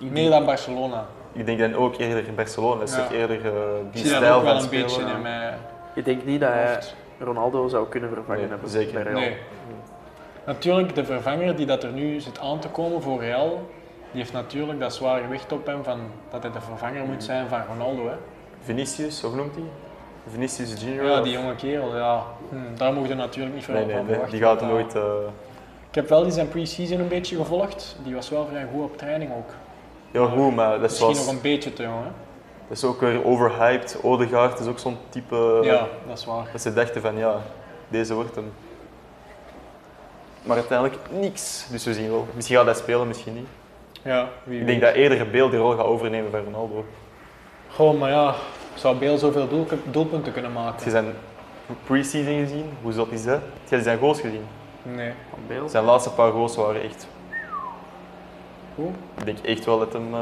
Speaker 1: Meer dan Barcelona.
Speaker 2: Ik denk dan ook eerder Barcelona. Dat is
Speaker 1: Ja.
Speaker 2: toch eerder eh,
Speaker 1: Ik
Speaker 2: die
Speaker 1: zie dat
Speaker 2: stijl
Speaker 1: ook wel
Speaker 2: van
Speaker 1: een
Speaker 2: spelen.
Speaker 1: beetje
Speaker 2: ja.
Speaker 1: in mijn
Speaker 4: Ik denk niet dat hij
Speaker 2: Eh,
Speaker 1: hoofd.
Speaker 4: Ronaldo zou kunnen vervangen
Speaker 2: Nee,
Speaker 4: hebben.
Speaker 2: zeker
Speaker 4: bij Real.
Speaker 1: Nee. Natuurlijk, de vervanger die dat er nu zit aan te komen voor Real, die heeft natuurlijk dat zware gewicht op hem van dat hij de vervanger
Speaker 2: Mm.
Speaker 1: moet zijn van Ronaldo. Hè.
Speaker 2: Vinicius, hoe noemt hij? Vinicius Junior?
Speaker 1: Ja,
Speaker 2: of-
Speaker 1: die jonge kerel, ja. Hm, daar mogen we natuurlijk niet veel
Speaker 2: Nee,
Speaker 1: van
Speaker 2: nee, nee,
Speaker 1: verwachten.
Speaker 2: die gaat
Speaker 1: want, eh,
Speaker 2: nooit. eh,
Speaker 1: Ik heb wel die zijn pre-season een beetje gevolgd. Die was wel vrij goed op training ook.
Speaker 2: heel goed, maar dat is,
Speaker 1: Misschien
Speaker 2: zoals-
Speaker 1: nog een beetje te jong, hè?
Speaker 2: dat is ook weer overhyped. Odegaard is ook zo'n type.
Speaker 1: ja, dat is waar.
Speaker 2: Dat ze dachten van ja, deze wordt hem. Maar uiteindelijk niks. Dus we zien wel. Misschien gaat hij spelen, misschien niet.
Speaker 1: Ja, wie
Speaker 2: Ik denk dat eerder Beel die rol gaat overnemen van Ronaldo.
Speaker 1: Gewoon, maar ja, zou Bale zoveel doel- doelpunten kunnen
Speaker 2: Heb je
Speaker 1: maken?
Speaker 2: zijn pre-season gezien? Hoe zot is dat? Heb je zijn goals gezien?
Speaker 1: Nee.
Speaker 4: Van Bale.
Speaker 2: Zijn laatste paar goals waren echt...
Speaker 1: Goed.
Speaker 2: Ik denk echt wel dat hem... eh,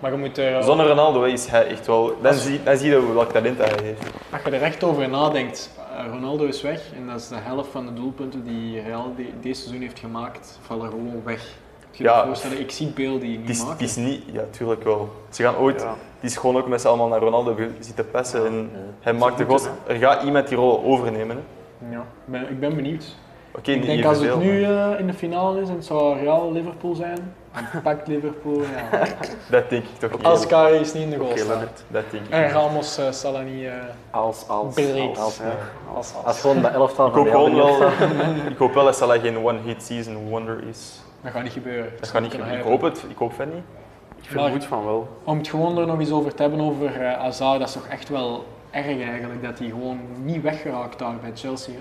Speaker 1: Maar je moet er,
Speaker 2: Zonder Ronaldo hè, is hij echt wel... Dan zie, dan zie je welk talent hij heeft.
Speaker 1: als je er echt over nadenkt, eh, Ronaldo is weg en dat is de helft van de doelpunten die Real de- deze seizoen heeft gemaakt, vallen gewoon weg. Kun je
Speaker 2: Ja.
Speaker 1: je voorstellen, ik zie Bale die niet
Speaker 2: Het is, het
Speaker 1: maken.
Speaker 2: is niet... Ja, tuurlijk wel. Ze gaan ooit...
Speaker 4: Ja.
Speaker 2: Het is gewoon ook met z'n allemaal naar Ronaldo be- zitten passen. En hij maakt de
Speaker 4: moeten,
Speaker 2: goals. Er gaat iemand die rol overnemen. hè.
Speaker 1: Ja, ik ben, ik ben benieuwd.
Speaker 2: Oké,
Speaker 1: Ik
Speaker 2: niet
Speaker 1: denk als het
Speaker 2: evenveel,
Speaker 1: nu eh, in de finale is en het zou Real-Liverpool zijn, dan pakt Liverpool
Speaker 2: [laughs]
Speaker 1: ja.
Speaker 2: maar Dat denk ik toch niet.
Speaker 1: Als Kari is niet in de goal
Speaker 4: Oké,
Speaker 1: staat.
Speaker 4: Lennart.
Speaker 2: Dat denk ik
Speaker 1: En
Speaker 2: niet.
Speaker 1: Ramos eh, zal dat niet... eh,
Speaker 5: Als, als,
Speaker 1: Breed.
Speaker 5: als, als,
Speaker 4: Ja.
Speaker 1: als, als.
Speaker 5: Als gewoon dat elftal
Speaker 2: Ik
Speaker 5: van
Speaker 2: hoop,
Speaker 5: Real
Speaker 2: gewoon
Speaker 5: Madrid.
Speaker 2: wel, [laughs] ik hoop wel dat Salah geen one-hit season wonder is.
Speaker 1: Dat gaat niet gebeuren.
Speaker 2: Dat gaat niet gebeuren. Ik hoop het. Ik hoop van niet.
Speaker 4: Ik
Speaker 1: Maar-
Speaker 4: vermoed van wel.
Speaker 1: Om het gewoon er nog eens over te hebben, over eh, Hazard, dat is toch echt wel erg eigenlijk, dat hij gewoon niet weggeraakt daar bij Chelsea. Hè?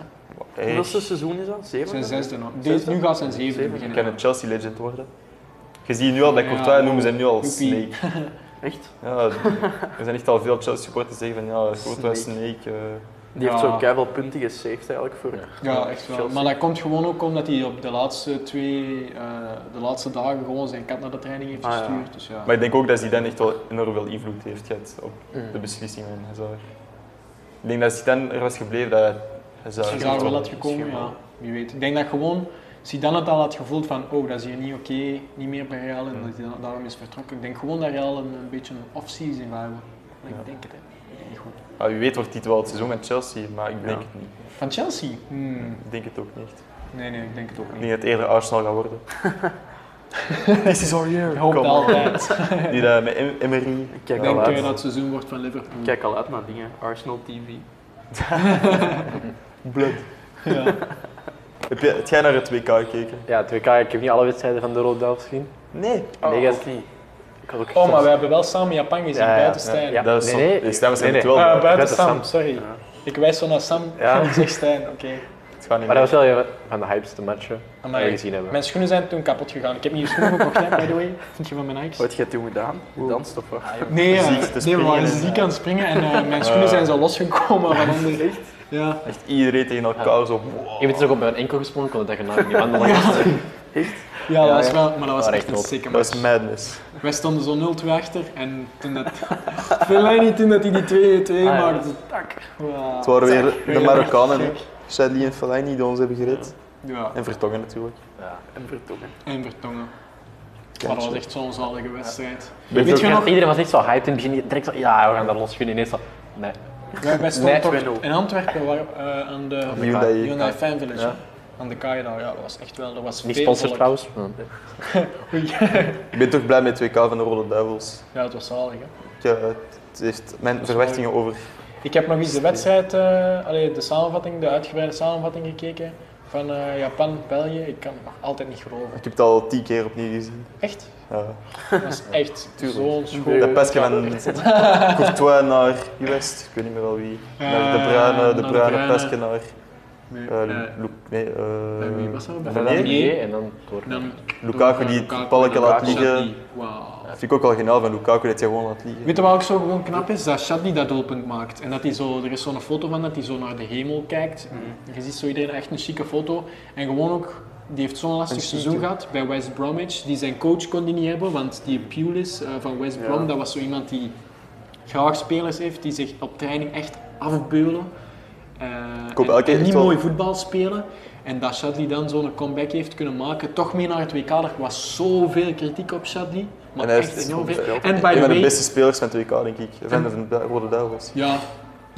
Speaker 2: Erg.
Speaker 4: Hoeveelste seizoen is dus- dat? Zeven?
Speaker 1: Zijn zesde nog.
Speaker 4: Zesde?
Speaker 1: Deze- nu gaat zijn zevende
Speaker 4: Zevende.
Speaker 2: Je
Speaker 1: beginnen.
Speaker 2: kan een Chelsea legend worden. Je ziet nu al dat
Speaker 1: Ja,
Speaker 2: Courtois noemen ze hem nu al
Speaker 1: Joepie.
Speaker 2: Snake.
Speaker 4: Echt?
Speaker 1: [laughs]
Speaker 2: Ja, er zijn echt al veel Chelsea supporters die zeggen van ja, Courtois Snake. eh.
Speaker 4: Die
Speaker 1: Ja.
Speaker 4: heeft zo keiveel punten gesaved eigenlijk voor.
Speaker 1: Ja, echt wel.
Speaker 4: Chelsea.
Speaker 1: Maar dat komt gewoon ook omdat hij op de laatste twee, eh, de laatste dagen gewoon zijn kat naar de training heeft
Speaker 4: Ah, ja.
Speaker 1: gestuurd. Dus ja.
Speaker 2: Maar ik denk ook dat Zidane echt wel enorm veel invloed heeft gehad op de beslissingen van Hazard. Ik denk dat Zidane er was gebleven dat Hazard...
Speaker 1: Hij zou wel had gekomen, ja. Wie weet. Ik denk dat gewoon Zidane het al had gevoeld van, oh, dat is hier niet oké, niet meer bij Real en dat hij dan- daarom is vertrokken. Ik denk gewoon dat Real een, een beetje een off-season gaat hebben. Ik
Speaker 2: Ja.
Speaker 1: denk het, hè. Ik denk het goed.
Speaker 2: Ja, Ah, wie weet wordt dit wel het seizoen met Chelsea, maar ik denk
Speaker 4: Ja.
Speaker 2: het niet.
Speaker 1: Van Chelsea? Hmm.
Speaker 2: Ik denk het ook niet.
Speaker 1: Nee, nee, ik denk het ook
Speaker 2: Ik
Speaker 1: niet.
Speaker 2: denk dat het eerder Arsenal gaat
Speaker 1: [laughs]
Speaker 2: worden. This is our year.
Speaker 1: Ik hoop het
Speaker 2: Kom,
Speaker 1: altijd.
Speaker 2: [laughs] Die dat met Em- Emery.
Speaker 4: Ik
Speaker 1: Ik
Speaker 4: kijk,
Speaker 1: denk
Speaker 4: al
Speaker 1: eh,
Speaker 4: uit.
Speaker 1: dat het seizoen wordt van Liverpool.
Speaker 4: ik kijk al uit naar dingen. Arsenal TV.
Speaker 2: Blood.
Speaker 1: Ja.
Speaker 2: Heb jij, heb jij naar het WK gekeken?
Speaker 5: Ja, het WK, ik heb niet alle wedstrijden van de Rode Duivels gezien.
Speaker 2: Nee.
Speaker 5: nee, ik had-
Speaker 4: ook niet.
Speaker 5: ik had ook
Speaker 1: Oh, maar we hebben wel samen Japan gezien,
Speaker 5: Ja, ja,
Speaker 1: buiten Stijn.
Speaker 5: ja.
Speaker 2: Dat is
Speaker 5: Nee, nee.
Speaker 2: zo- Dus dat was
Speaker 5: Nee,
Speaker 2: het
Speaker 5: nee.
Speaker 2: wel.
Speaker 1: Ah,
Speaker 2: maar
Speaker 1: buiten
Speaker 5: buiten
Speaker 1: Sam,
Speaker 5: Sam.
Speaker 1: sorry.
Speaker 4: Ja.
Speaker 1: Ik wijs zo naar Sam
Speaker 5: Ja.
Speaker 1: en ik zeg Stijn, oké.
Speaker 2: Het gaat niet
Speaker 5: Maar dat was
Speaker 2: meer.
Speaker 5: wel een van de hypeste matchen die
Speaker 1: Amai.
Speaker 5: we gezien hebben.
Speaker 1: Mijn schoenen zijn toen kapot gegaan. Ik heb nieuwe schoenen gekocht, hè, by the way. Vind je van mijn Nike?
Speaker 4: Wat heb je toen gedaan? Danst of wat?
Speaker 1: Nee, eh,
Speaker 2: Ziek te
Speaker 1: nee, we
Speaker 2: springen
Speaker 1: waren
Speaker 2: en,
Speaker 1: ziek
Speaker 2: eh,
Speaker 1: aan het springen en eh, mijn schoenen
Speaker 2: eh,
Speaker 1: zijn zo losgekomen van onder. Ja.
Speaker 2: Echt iedereen tegen elkaar zo.
Speaker 5: Je bent ook op een enkel gesprongen, ik kon dat je nou niet
Speaker 1: [laughs]
Speaker 5: wandelen. Ja.
Speaker 1: Ja, dat
Speaker 5: Ja,
Speaker 1: is
Speaker 5: ja.
Speaker 1: wel, maar dat was
Speaker 5: Maar
Speaker 1: echt
Speaker 5: echt
Speaker 1: een
Speaker 5: top.
Speaker 1: sikke
Speaker 2: Dat was
Speaker 1: match.
Speaker 2: madness.
Speaker 1: Wij stonden zo 0-2 achter en toen [laughs] dat... Fellaini toen dat hij die 2-2
Speaker 5: ja.
Speaker 1: maakte, tak. Wow.
Speaker 2: Ah, Het waren weer de
Speaker 1: Weer
Speaker 2: Marokkanen. hè.
Speaker 1: echt gek.
Speaker 2: Sadly en Fellaini die ons hebben gered.
Speaker 1: Ja,
Speaker 2: En Vertongen natuurlijk.
Speaker 4: En vertongen.
Speaker 1: en Vertongen. Maar dat was echt zo'n zalige wedstrijd.
Speaker 2: Ben je
Speaker 1: Weet je
Speaker 2: ook-
Speaker 1: nog,
Speaker 5: Iedereen was echt zo hyped in het begin, direct zo, ja, we gaan daar los kunnen. Ineens zo, nee.
Speaker 1: wij, wij stonden
Speaker 5: Nee,
Speaker 1: toch
Speaker 4: 2-0.
Speaker 1: in Antwerpen waar, eh, aan de
Speaker 2: Hyundai.
Speaker 1: Hyundai Fan Village.
Speaker 2: Ja.
Speaker 1: Aan de kaai daar, ja, dat was echt wel... Dat was
Speaker 5: Niet
Speaker 1: veel
Speaker 5: sponsor
Speaker 1: volk.
Speaker 5: trouwens.
Speaker 2: Hm.
Speaker 1: Oei.
Speaker 2: Ik ben toch blij met het WK van de Rode Duivels.
Speaker 1: Ja, het was zalig, hè.
Speaker 2: Ik, eh, het heeft mijn verwachtingen over.
Speaker 1: Ik heb nog eens de wedstrijd, eh, allee, de samenvatting, de uitgebreide samenvatting gekeken van eh, Japan, België. Ik kan het nog altijd niet geloven.
Speaker 2: Ik heb het al tien keer opnieuw gezien.
Speaker 1: Echt?
Speaker 2: Ja.
Speaker 1: Dat is echt
Speaker 2: Tuurlijk.
Speaker 1: zo'n schoon.
Speaker 2: Dat pasje
Speaker 1: [laughs]
Speaker 2: van Courtois naar West, ik weet niet meer wel wie. Naar de
Speaker 1: Eh,
Speaker 2: bruine, de
Speaker 1: naar de
Speaker 2: bruine
Speaker 1: Bruyne.
Speaker 2: pasje naar.
Speaker 1: Nee,
Speaker 2: eh,
Speaker 1: eh,
Speaker 2: Lu- nee, eh,
Speaker 1: bij wie was dat? Bij
Speaker 5: En dan
Speaker 2: Van
Speaker 1: Van
Speaker 2: Dijk?
Speaker 1: Dijk?
Speaker 5: die en dan door.
Speaker 1: Dan
Speaker 2: Lukaku die het balken laat
Speaker 1: Lukaku,
Speaker 2: liggen.
Speaker 1: Chadli. Wauw.
Speaker 2: Dat vind ik ook wel geniaal van Lukaku dat hij gewoon laat liggen.
Speaker 1: Weet je wat ook zo gewoon knap is? Dat Shadli dat doelpunt maakt. En dat hij zo, er is zo'n foto van dat hij zo naar de hemel kijkt.
Speaker 2: Mhm.
Speaker 1: Je ziet zo iedereen echt een chique foto. En gewoon ook, die heeft zo'n lastig
Speaker 2: Een chique.
Speaker 1: seizoen gehad bij West Bromwich. Die zijn coach kon die niet hebben, want die Pulis eh, van West Brom,
Speaker 4: Ja.
Speaker 1: dat was zo iemand die graag spelers heeft, die zich op training echt afbeulen. Eh,
Speaker 2: hoop
Speaker 1: en-
Speaker 2: elke keer
Speaker 1: en niet
Speaker 2: echt wel-
Speaker 1: mooi voetbal spelen. En dat Shadli dan zo'n comeback heeft kunnen maken, toch mee naar het WK. Er was zoveel kritiek op Shadli. Maar
Speaker 2: En hij
Speaker 1: echt
Speaker 2: heeft
Speaker 1: enorm
Speaker 2: goed
Speaker 1: veel.
Speaker 2: gespeeld.
Speaker 1: En by
Speaker 2: Een
Speaker 1: the
Speaker 2: van de
Speaker 1: way,
Speaker 2: beste spelers van het WK, denk ik. Van de Rode Duivels.
Speaker 1: ja, Ja,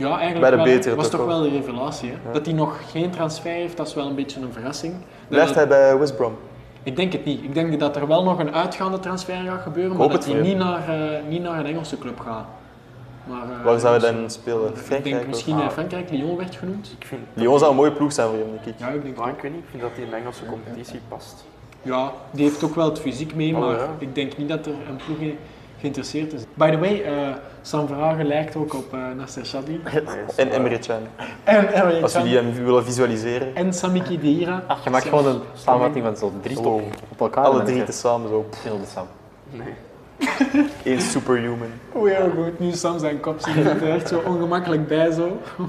Speaker 1: eigenlijk
Speaker 2: Bij de
Speaker 1: wel,
Speaker 2: betere
Speaker 1: was
Speaker 2: toch
Speaker 1: toch
Speaker 2: wel.
Speaker 1: wel de revelatie. Hè?
Speaker 2: Ja.
Speaker 1: Dat hij nog geen transfer heeft, dat is wel een beetje een verrassing.
Speaker 2: Blijft
Speaker 1: Dat-
Speaker 2: hij bij West Brom?
Speaker 1: Ik denk het niet. Ik denk dat er wel nog een uitgaande transfer gaat gebeuren, maar
Speaker 2: hoop
Speaker 1: dat
Speaker 2: het
Speaker 1: hij
Speaker 2: voor
Speaker 1: niet naar, eh, niet naar een Engelse club gaat. Maar, eh,
Speaker 2: Waar zou hij
Speaker 1: dus-
Speaker 2: dan spelen?
Speaker 1: Ik denk
Speaker 2: Frankrijk?
Speaker 1: misschien
Speaker 2: of- Ah.
Speaker 1: eh, Frankrijk, Lyon werd genoemd.
Speaker 4: Ik vind,
Speaker 2: Lyon zou een mooie ploeg zijn voor hem, denk ik.
Speaker 1: Ja, ik denk
Speaker 4: maar ik weet niet, ik vind dat die in de Engelse competitie past.
Speaker 1: Ja, die heeft ook wel het fysiek mee,
Speaker 4: Oh,
Speaker 1: maar
Speaker 4: ja.
Speaker 1: ik denk niet dat er een ploeg in geïnteresseerd is. By the way, eh Sam Verhagen lijkt ook op eh Nasser
Speaker 2: [laughs]
Speaker 1: Chadli.
Speaker 2: En Emre Can.
Speaker 1: En Emre
Speaker 2: Als
Speaker 1: Can.
Speaker 2: jullie hem willen visualiseren.
Speaker 1: En Samiki Deira.
Speaker 5: Ach, je maakt gewoon een samenvatting van zo'n drie
Speaker 2: Wow.
Speaker 5: stokken op elkaar.
Speaker 2: Oh. Alle drie tezamen zo. pff,
Speaker 5: Heel de Sam.
Speaker 4: Nee.
Speaker 2: Eén superhuman.
Speaker 1: Oh heel goed, nu Sam zijn kop zit er echt zo ongemakkelijk bij zo. [laughs]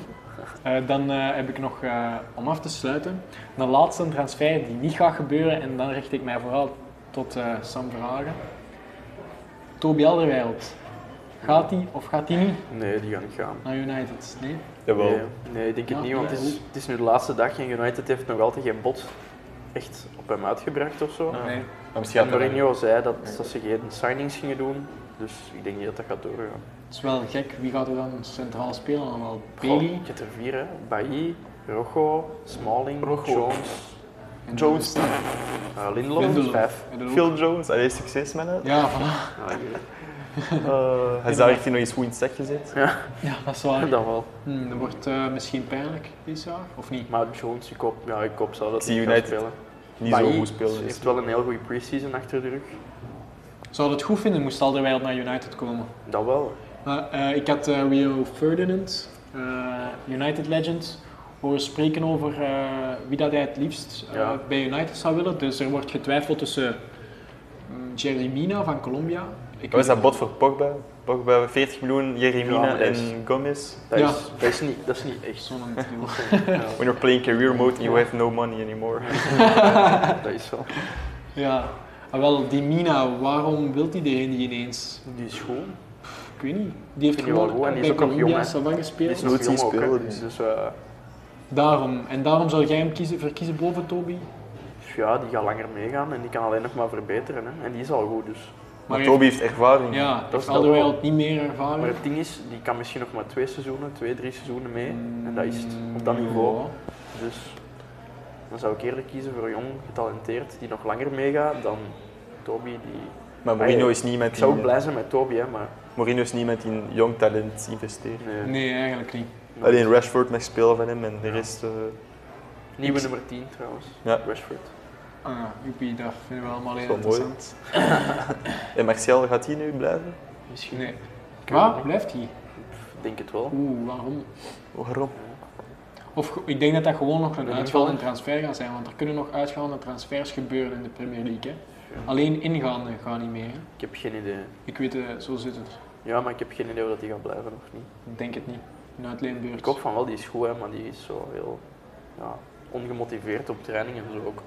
Speaker 1: Eh, dan eh, heb ik nog, eh, om af te sluiten, de laatste transfer die niet gaat gebeuren en dan richt ik mij vooral tot eh, Sam Verhagen. Toby Alderweireld. Gaat hij of gaat hij niet
Speaker 4: Nee, die gaan niet gaan.
Speaker 1: naar United? Nee?
Speaker 4: Nee, nee, ik denk het
Speaker 1: Ja,
Speaker 4: niet, want het is, het is nu de laatste dag en United heeft nog altijd geen bot echt op hem uitgebracht of zo.
Speaker 1: Nee.
Speaker 2: Maar misschien
Speaker 4: En
Speaker 2: gaat hij-
Speaker 4: Mourinho zei dat, dat ze geen signings gingen doen, dus ik denk niet dat dat gaat doorgaan.
Speaker 1: Het is wel gek, wie gaat er dan centraal spelen? Dan wel
Speaker 4: Goh,
Speaker 1: Bailey
Speaker 4: Je hebt er vier, hè. Bailly, Rojo, Smalling,
Speaker 2: Rojo.
Speaker 4: Jones,
Speaker 1: en
Speaker 2: Jones.
Speaker 4: eh, Lindelof.
Speaker 1: Lindelof.
Speaker 4: Vijf.
Speaker 1: Lindelof.
Speaker 2: Phil Jones. Allee, succes met hem.
Speaker 1: Ja, voilà.
Speaker 4: Ah, ja.
Speaker 2: Eh, Hij is daar echt nog eens goed in het stek gezet.
Speaker 1: ja, dat is waar.
Speaker 4: Eh, [laughs] dat wel.
Speaker 1: Hm, dat wordt eh, misschien pijnlijk dit jaar, of niet?
Speaker 4: Maar Jones, ik hoop, ja, ik hoop zou dat
Speaker 2: Ik zie
Speaker 4: hij gaat
Speaker 2: United
Speaker 4: spelen.
Speaker 2: Niet zo
Speaker 4: Bailly
Speaker 2: goed spelen. dus.
Speaker 4: heeft wel een heel goede pre-season achter de rug.
Speaker 1: Zou dat goed vinden, moest Alderweireld naar United komen?
Speaker 4: Dat wel.
Speaker 1: Maar, eh, ik had eh, Rio Ferdinand, eh, United Legend, horen spreken over eh, wie dat hij het liefst eh,
Speaker 4: Ja.
Speaker 1: bij United zou willen. Dus er wordt getwijfeld tussen mm, Jerry Mina van Colombia. Ik
Speaker 2: Wat
Speaker 1: weet-
Speaker 2: is dat bod voor Pogba? Pogba 40 miljoen, Jeremina
Speaker 4: Ja, maar dat is-
Speaker 2: en Gomez.
Speaker 4: Dat,
Speaker 1: Ja.
Speaker 4: is, dat, is niet, dat is niet
Speaker 2: [laughs]
Speaker 4: echt.
Speaker 1: Zo'n deal.
Speaker 4: Ja,
Speaker 2: When you're playing career mode, you have no money anymore. nou?
Speaker 4: dat is wel.
Speaker 1: ja, Ah, wel, die Mina, waarom wil hij die niet ineens?
Speaker 4: Die is goed.
Speaker 1: Ik weet niet. Die heeft
Speaker 4: Vind je wel
Speaker 1: gewoon
Speaker 4: goed, en die is
Speaker 1: bij
Speaker 4: ook nog
Speaker 1: Colombia
Speaker 4: jong, hè?
Speaker 1: Savan
Speaker 4: Die
Speaker 1: gespeeld.
Speaker 4: is nog
Speaker 2: Moet
Speaker 4: jong
Speaker 2: zien
Speaker 4: ook, hè.
Speaker 2: spelen,
Speaker 4: Dus,
Speaker 2: dus.
Speaker 4: dus eh,
Speaker 1: Daarom. En daarom zou jij hem kiezen, verkiezen boven Toby?
Speaker 4: dus ja, die gaat langer meegaan en die kan alleen nog maar verbeteren. Hè. En die is al goed, dus.
Speaker 2: Maar
Speaker 1: heeft-
Speaker 2: Toby heeft ervaring.
Speaker 1: Ja, dat
Speaker 4: dat
Speaker 1: is
Speaker 4: is
Speaker 1: Alderweireld niet meer ervaren.
Speaker 4: Maar het ding is, die kan misschien nog maar twee seizoenen, twee, drie seizoenen mee. En dat is het, op dat
Speaker 1: Mm,
Speaker 4: niveau.
Speaker 1: ja.
Speaker 4: Dus dan zou ik eerder kiezen voor een jong, getalenteerd, die nog langer meegaat dan Toby. Die...
Speaker 2: Maar Mourinho
Speaker 4: Allee,
Speaker 2: is niet met
Speaker 4: Ik zou ook
Speaker 2: die,
Speaker 4: blij zijn met Toby, hè, maar
Speaker 2: Mourinho is niet met in jong talent investeren.
Speaker 4: nee.
Speaker 1: Nee, eigenlijk niet.
Speaker 2: Alleen Rashford mag spelen van hem en de rest... eh,
Speaker 4: Nieuwe nummer 10 trouwens,
Speaker 2: Ja.
Speaker 4: Rashford.
Speaker 1: Ah, joepie, dat vinden we allemaal heel
Speaker 2: wel mooi.
Speaker 1: interessant.
Speaker 2: [laughs] En Martial, gaat hij nu blijven?
Speaker 4: Misschien.
Speaker 1: Nee.
Speaker 4: Ik weet het
Speaker 1: Waar
Speaker 4: niet.
Speaker 1: blijft hij?
Speaker 4: Ik denk het wel.
Speaker 1: Oeh, waarom?
Speaker 2: Oh, Waarom?
Speaker 1: Of ge- ik denk dat dat gewoon nog een
Speaker 4: Een
Speaker 1: uitgaande
Speaker 4: invaller?
Speaker 1: transfer gaat zijn, want er kunnen nog uitgaande transfers gebeuren in de Premier League. Hè. Alleen ingaande gaan niet meer. hè.
Speaker 4: Ik heb geen idee.
Speaker 1: Ik weet, eh, zo zit het.
Speaker 4: Ja, maar ik heb geen idee of dat die gaat blijven of niet.
Speaker 1: Ik denk het niet. Een uitleenbeurt.
Speaker 4: Ik hoop van wel, die is goed, hè, maar die is zo heel ja, ongemotiveerd op training en zo ook.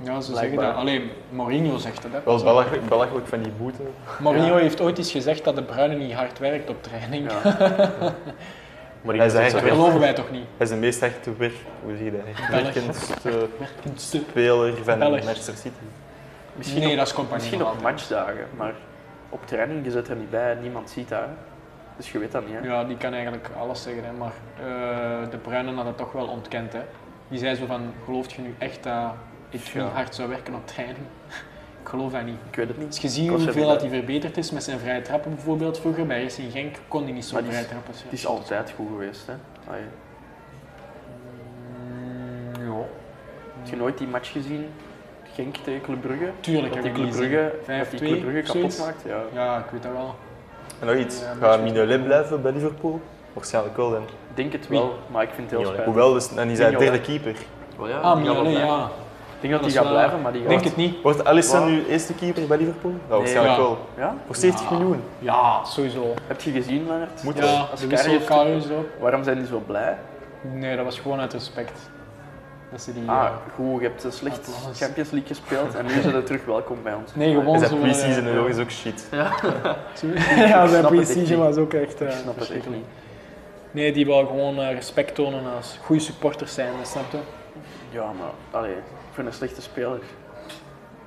Speaker 1: Ja, ze zeggen
Speaker 4: Blijkbaar.
Speaker 1: dat. Alleen Mourinho zegt dat. Hè.
Speaker 2: Wel belachelijk, belachelijk van die boete.
Speaker 1: Mourinho heeft ooit eens gezegd dat de Bruyne niet hard werkt op training.
Speaker 4: Ja.
Speaker 5: Maar
Speaker 2: Hij is
Speaker 1: Dat
Speaker 2: eigenlijk
Speaker 1: geloven wij toch niet?
Speaker 2: Hij is de meest echte werk... Hoe zeg je dat? Werkendste
Speaker 1: Werkendste.
Speaker 2: speler van
Speaker 1: Belg.
Speaker 2: Manchester City.
Speaker 4: Misschien
Speaker 1: nee,
Speaker 4: op-
Speaker 1: dat is compagnie.
Speaker 4: Misschien
Speaker 1: nog
Speaker 4: op
Speaker 1: altijd.
Speaker 4: matchdagen, maar op training, je zit er niet bij, niemand ziet dat. hè. Dus je weet dat niet, hè?
Speaker 1: Ja, die kan eigenlijk alles zeggen, hè, maar eh, de Bruinen had dat toch wel ontkend. Hè. Die zei zo van, gelooft je nu echt dat ik
Speaker 4: Ja.
Speaker 1: niet hard zou werken op training? [laughs] ik geloof dat niet.
Speaker 4: Ik weet het niet.
Speaker 1: Als je ziet
Speaker 4: Ik was er
Speaker 1: hoeveel
Speaker 4: niet
Speaker 1: dat hij verbeterd is met zijn vrije trappen bijvoorbeeld vroeger, bij Racing Genk kon hij niet zo
Speaker 4: Maar die
Speaker 1: vrije
Speaker 4: is-
Speaker 1: trappen zetten.
Speaker 4: Het is altijd goed geweest, hè? Allee,
Speaker 1: Mm, ja.
Speaker 4: Heb je nooit die match gezien? Genk tegen Club Brugge?
Speaker 1: Tuurlijk
Speaker 4: Dat
Speaker 1: heb
Speaker 4: die
Speaker 1: ik
Speaker 4: Club
Speaker 1: die
Speaker 4: Brugge,
Speaker 1: gezien.
Speaker 4: dat die Club
Speaker 1: 5-2
Speaker 4: Brugge
Speaker 1: of zoiets.
Speaker 4: kapot maakt? Ja.
Speaker 1: Ja, ik weet dat wel.
Speaker 2: En nog iets.
Speaker 1: Ja,
Speaker 2: Gaat
Speaker 1: Manchester-
Speaker 2: Mignolet blijven bij Liverpool? Waarschijnlijk wel dan.
Speaker 4: Ik denk het
Speaker 1: Wie?
Speaker 4: wel, maar ik vind het heel
Speaker 5: Mignolet.
Speaker 4: spijtig.
Speaker 2: Hoewel, dus, en die zijn
Speaker 4: Mignolet.
Speaker 2: derde keeper.
Speaker 4: Wel, ja,
Speaker 1: Ah,
Speaker 4: die gaat wel
Speaker 1: Mignolet,
Speaker 4: blijven.
Speaker 1: ja.
Speaker 4: Ik denk dat
Speaker 1: Dat
Speaker 4: die
Speaker 1: is
Speaker 4: gaat
Speaker 1: wel-
Speaker 4: blijven, maar die
Speaker 1: Ik
Speaker 4: gaat...
Speaker 1: denk het niet.
Speaker 2: Wordt Alisson
Speaker 4: Wat?
Speaker 2: nu eerste keeper bij Liverpool? Nou, waarschijnlijk
Speaker 1: Ja.
Speaker 2: wel.
Speaker 4: Ja?
Speaker 2: Voor 70
Speaker 1: Ja.
Speaker 2: miljoen.
Speaker 1: Ja, sowieso.
Speaker 4: Heb je gezien, Leonard?
Speaker 2: Moet wel.
Speaker 1: Ja,
Speaker 4: Als
Speaker 1: de
Speaker 4: Karius
Speaker 1: wissel
Speaker 4: terug-
Speaker 1: Karius ook.
Speaker 4: Waarom zijn die zo blij?
Speaker 1: Nee, dat was gewoon uit respect. Dat ze die... eh,
Speaker 4: Ah, goed, je hebt een slecht
Speaker 1: Applaus.
Speaker 4: Champions League gespeeld
Speaker 1: [laughs]
Speaker 4: en nu zijn ze terug welkom bij ons.
Speaker 1: Nee, gewoon
Speaker 2: En
Speaker 1: zo,
Speaker 2: zijn
Speaker 1: eh,
Speaker 2: pre-season nog is ook shit.
Speaker 1: [laughs] ja, zijn
Speaker 4: snap het echt
Speaker 1: pre-season
Speaker 4: niet.
Speaker 1: was ook echt eh,
Speaker 4: Ah, Ik snap het echt
Speaker 1: verschrikkelijk.
Speaker 4: niet.
Speaker 1: Nee, die wou gewoon eh, respect tonen als goede supporters zijn, dat snap je?
Speaker 4: [laughs] Ja, maar allee, voor een slechte speler.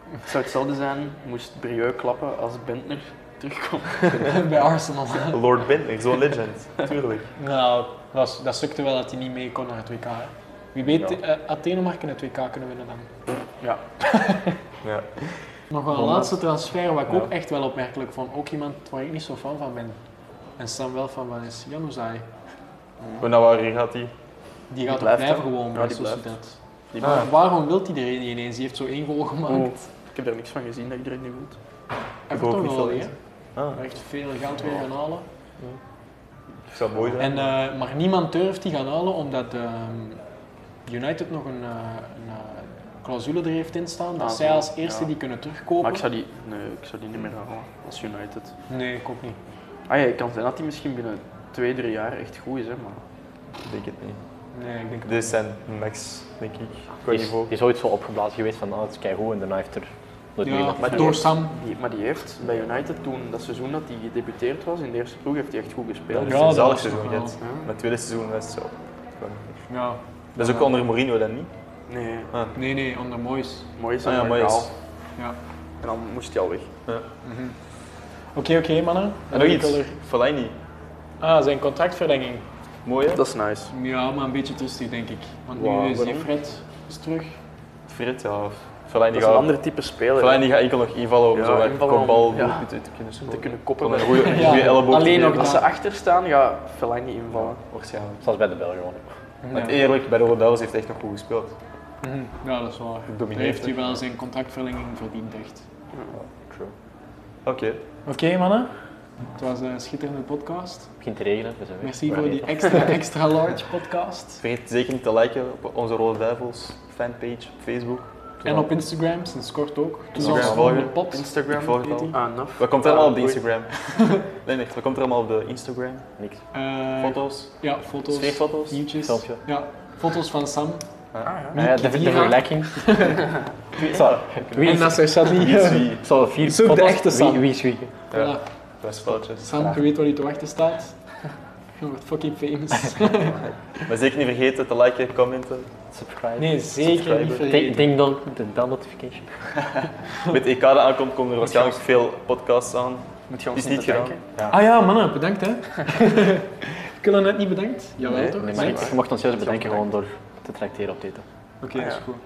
Speaker 4: Het zou hetzelfde zijn, moest Brieux klappen als Bentner terugkomt.
Speaker 1: bij Arsenal.
Speaker 2: Lord Bentner, zo'n legend. Tuurlijk.
Speaker 1: nou, dat, was, dat stukte wel dat hij niet mee kon naar het WK. hè. Wie weet,
Speaker 2: Ja.
Speaker 1: eh, Athene mag in het WK kunnen winnen dan.
Speaker 4: Ja.
Speaker 2: Ja.
Speaker 1: Nog wel een
Speaker 2: Wonder.
Speaker 1: laatste transfer, wat ik
Speaker 2: Ja.
Speaker 1: ook echt wel opmerkelijk vond. Ook iemand waar ik niet zo fan van ben. En Sam wel van van is Januzaj.
Speaker 2: Maar naar waar gaat hij?
Speaker 1: Die gaat ook
Speaker 4: blijft,
Speaker 1: blijven
Speaker 4: hè?
Speaker 1: gewoon
Speaker 4: Ja,
Speaker 1: bij
Speaker 4: die blijft.
Speaker 1: Sociedad.
Speaker 4: Die Oh,
Speaker 2: Ah.
Speaker 1: Maar waarom wil hij er een niet ineens? Die heeft zo één goal gemaakt.
Speaker 4: Oeh. Ik heb daar niks van gezien dat ik direct niet goed.
Speaker 1: Hij heeft
Speaker 2: ook
Speaker 1: toch
Speaker 2: niet
Speaker 1: wel
Speaker 2: veel
Speaker 1: hè?
Speaker 2: Ah,
Speaker 1: Echt veel geld weer gaan halen.
Speaker 2: ik zou mooi zijn.
Speaker 1: En, eh, maar niemand durft die gaan halen omdat ehm, United nog een, eh, een eh, clausule er heeft in staan. Dat
Speaker 4: Ah,
Speaker 1: zij
Speaker 4: zo.
Speaker 1: als eerste
Speaker 4: Ja.
Speaker 1: die kunnen terugkopen.
Speaker 4: Maar ik zou die, nee, ik zou die niet meer halen als United.
Speaker 1: Nee, ik ook niet.
Speaker 4: Ah ja, het kan zijn dat die misschien binnen twee, drie jaar echt goed is, hè, maar
Speaker 2: Ik denk het niet.
Speaker 1: Nee, ik denk
Speaker 2: Dit is zijn max, denk ik. Qua
Speaker 3: Die is,
Speaker 2: niveau.
Speaker 3: die is ooit zo opgeblazen geweest van, ah, het is keigoed en daarna heeft er nooit meer
Speaker 1: ja,
Speaker 3: gedaan.
Speaker 4: maar die
Speaker 1: door
Speaker 4: heeft-
Speaker 1: Sam.
Speaker 4: die, maar die heeft bij United toen, dat seizoen dat hij gedebuteerd was, in de eerste ploeg heeft hij echt goed
Speaker 2: Ja,
Speaker 4: gespeeld.
Speaker 2: dat
Speaker 1: Ja,
Speaker 2: is een
Speaker 1: dat
Speaker 2: zalig
Speaker 1: was
Speaker 2: seizoen.
Speaker 1: nog
Speaker 2: gehad.
Speaker 1: wel.
Speaker 4: Ja.
Speaker 2: Maar het tweede seizoen was het zo.
Speaker 1: Ja.
Speaker 2: Dat is ook onder Mourinho dan niet.
Speaker 4: Nee,
Speaker 1: Nee, nee, onder Moyes.
Speaker 4: mooi is
Speaker 2: Ah ja,
Speaker 4: dat
Speaker 2: mooi is.
Speaker 4: verhaal.
Speaker 1: Ja. Mhm.
Speaker 4: En dan moest hij al weg.
Speaker 1: Oké, oké, mannen.
Speaker 2: En nog
Speaker 1: Ik wil
Speaker 2: iets.
Speaker 1: er-
Speaker 2: Fellaini.
Speaker 1: Ah, zijn contractverlenging.
Speaker 2: Mooi hè?
Speaker 4: Dat is nice.
Speaker 1: Ja, maar een beetje tristig, denk ik. Want
Speaker 2: Wauw,
Speaker 1: nu is die
Speaker 2: waarom?
Speaker 1: Fred is terug.
Speaker 2: Fred, ja. Fellaini
Speaker 4: Dat is een
Speaker 2: gaat...
Speaker 4: ander type speler.
Speaker 2: Fellaini gaat enkel nog invallen om
Speaker 4: Ja,
Speaker 2: zo een
Speaker 4: invallen om-
Speaker 2: kopbal
Speaker 4: ja.
Speaker 2: doelpunt uit te kunnen
Speaker 4: hè, om te
Speaker 2: scoren.
Speaker 4: kunnen
Speaker 2: Van
Speaker 4: koppen.
Speaker 2: een goede
Speaker 1: Ja.
Speaker 2: elleboog. te
Speaker 1: Alleen nog
Speaker 2: geven.
Speaker 4: Als ze achter staan, gaat Fellaini invallen.
Speaker 2: Waarschijnlijk.
Speaker 3: Zoals bij de Belgen gewoon.
Speaker 2: Want
Speaker 1: Ja.
Speaker 2: eerlijk, bij de Rodels heeft hij echt nog goed gespeeld.
Speaker 1: Mhm. Ja, dat is waar.
Speaker 2: Domineert,
Speaker 1: Daar heeft hij
Speaker 2: hè.
Speaker 1: wel zijn contractverlenging verdiend, echt.
Speaker 2: True. Oké.
Speaker 1: Oké, mannen. Het was een schitterende podcast.
Speaker 3: Het begint te regenen, dus we zijn weg.
Speaker 1: Merci
Speaker 3: Maar
Speaker 1: voor
Speaker 3: nee.
Speaker 1: die extra, extra large podcast.
Speaker 2: Vergeet zeker niet te liken op onze Rode Duivels fanpage op Facebook.
Speaker 1: En op Instagram, sinds kort ook. Dus
Speaker 2: Instagram
Speaker 1: als
Speaker 2: volgen.
Speaker 1: volgende pot.
Speaker 2: Ik
Speaker 4: Instagram.
Speaker 2: volg het al.
Speaker 4: Ah, naf.
Speaker 2: Wat komt er allemaal op de
Speaker 4: Ah, oei. [laughs]
Speaker 2: Instagram? Leonard, wat komt er allemaal op de Instagram?
Speaker 3: Niks.
Speaker 1: Eh, [laughs]
Speaker 2: Foto's?
Speaker 1: Ja, foto's.
Speaker 2: Sfeerfoto's?
Speaker 1: Nieuwtjes.
Speaker 3: Filmpje.
Speaker 1: Ja, foto's van Sam.
Speaker 3: Ah ja, de, de
Speaker 1: Kivira. [laughs]
Speaker 3: vergelijking. Zo, wie
Speaker 1: En
Speaker 3: is
Speaker 1: Nasser Sadli.
Speaker 2: Wie is wie?
Speaker 3: zo vier
Speaker 1: Zoek de
Speaker 3: foto's.
Speaker 1: echte Sam.
Speaker 3: Wie, wie is wie?
Speaker 1: Voilà.
Speaker 2: Dat is foutjes.
Speaker 1: Sam, je weet waar je te wachten staat. [laughs] Je wordt fucking famous.
Speaker 2: Maar zeker niet vergeten te liken, commenten.
Speaker 3: Subscribe.
Speaker 1: Nee, zeker niet
Speaker 2: Subscriber.
Speaker 1: vergeten.
Speaker 3: Ding- Ding dong, de bell notification.
Speaker 2: Met E EK dat aankomt, komen er waarschijnlijk veel podcasts aan.
Speaker 4: Moet je
Speaker 2: Is
Speaker 4: ons
Speaker 2: niet
Speaker 4: niet
Speaker 2: gedaan.
Speaker 4: bedanken?
Speaker 1: Ah ja, mannen, bedankt hè. [laughs] Kunnen net niet bedankt? Jawel
Speaker 4: Nee,
Speaker 1: toch?
Speaker 3: Nee, maar ik, je mocht ons juist bedenken gewoon door te tracteren op dit.
Speaker 1: Oké, dat is goed.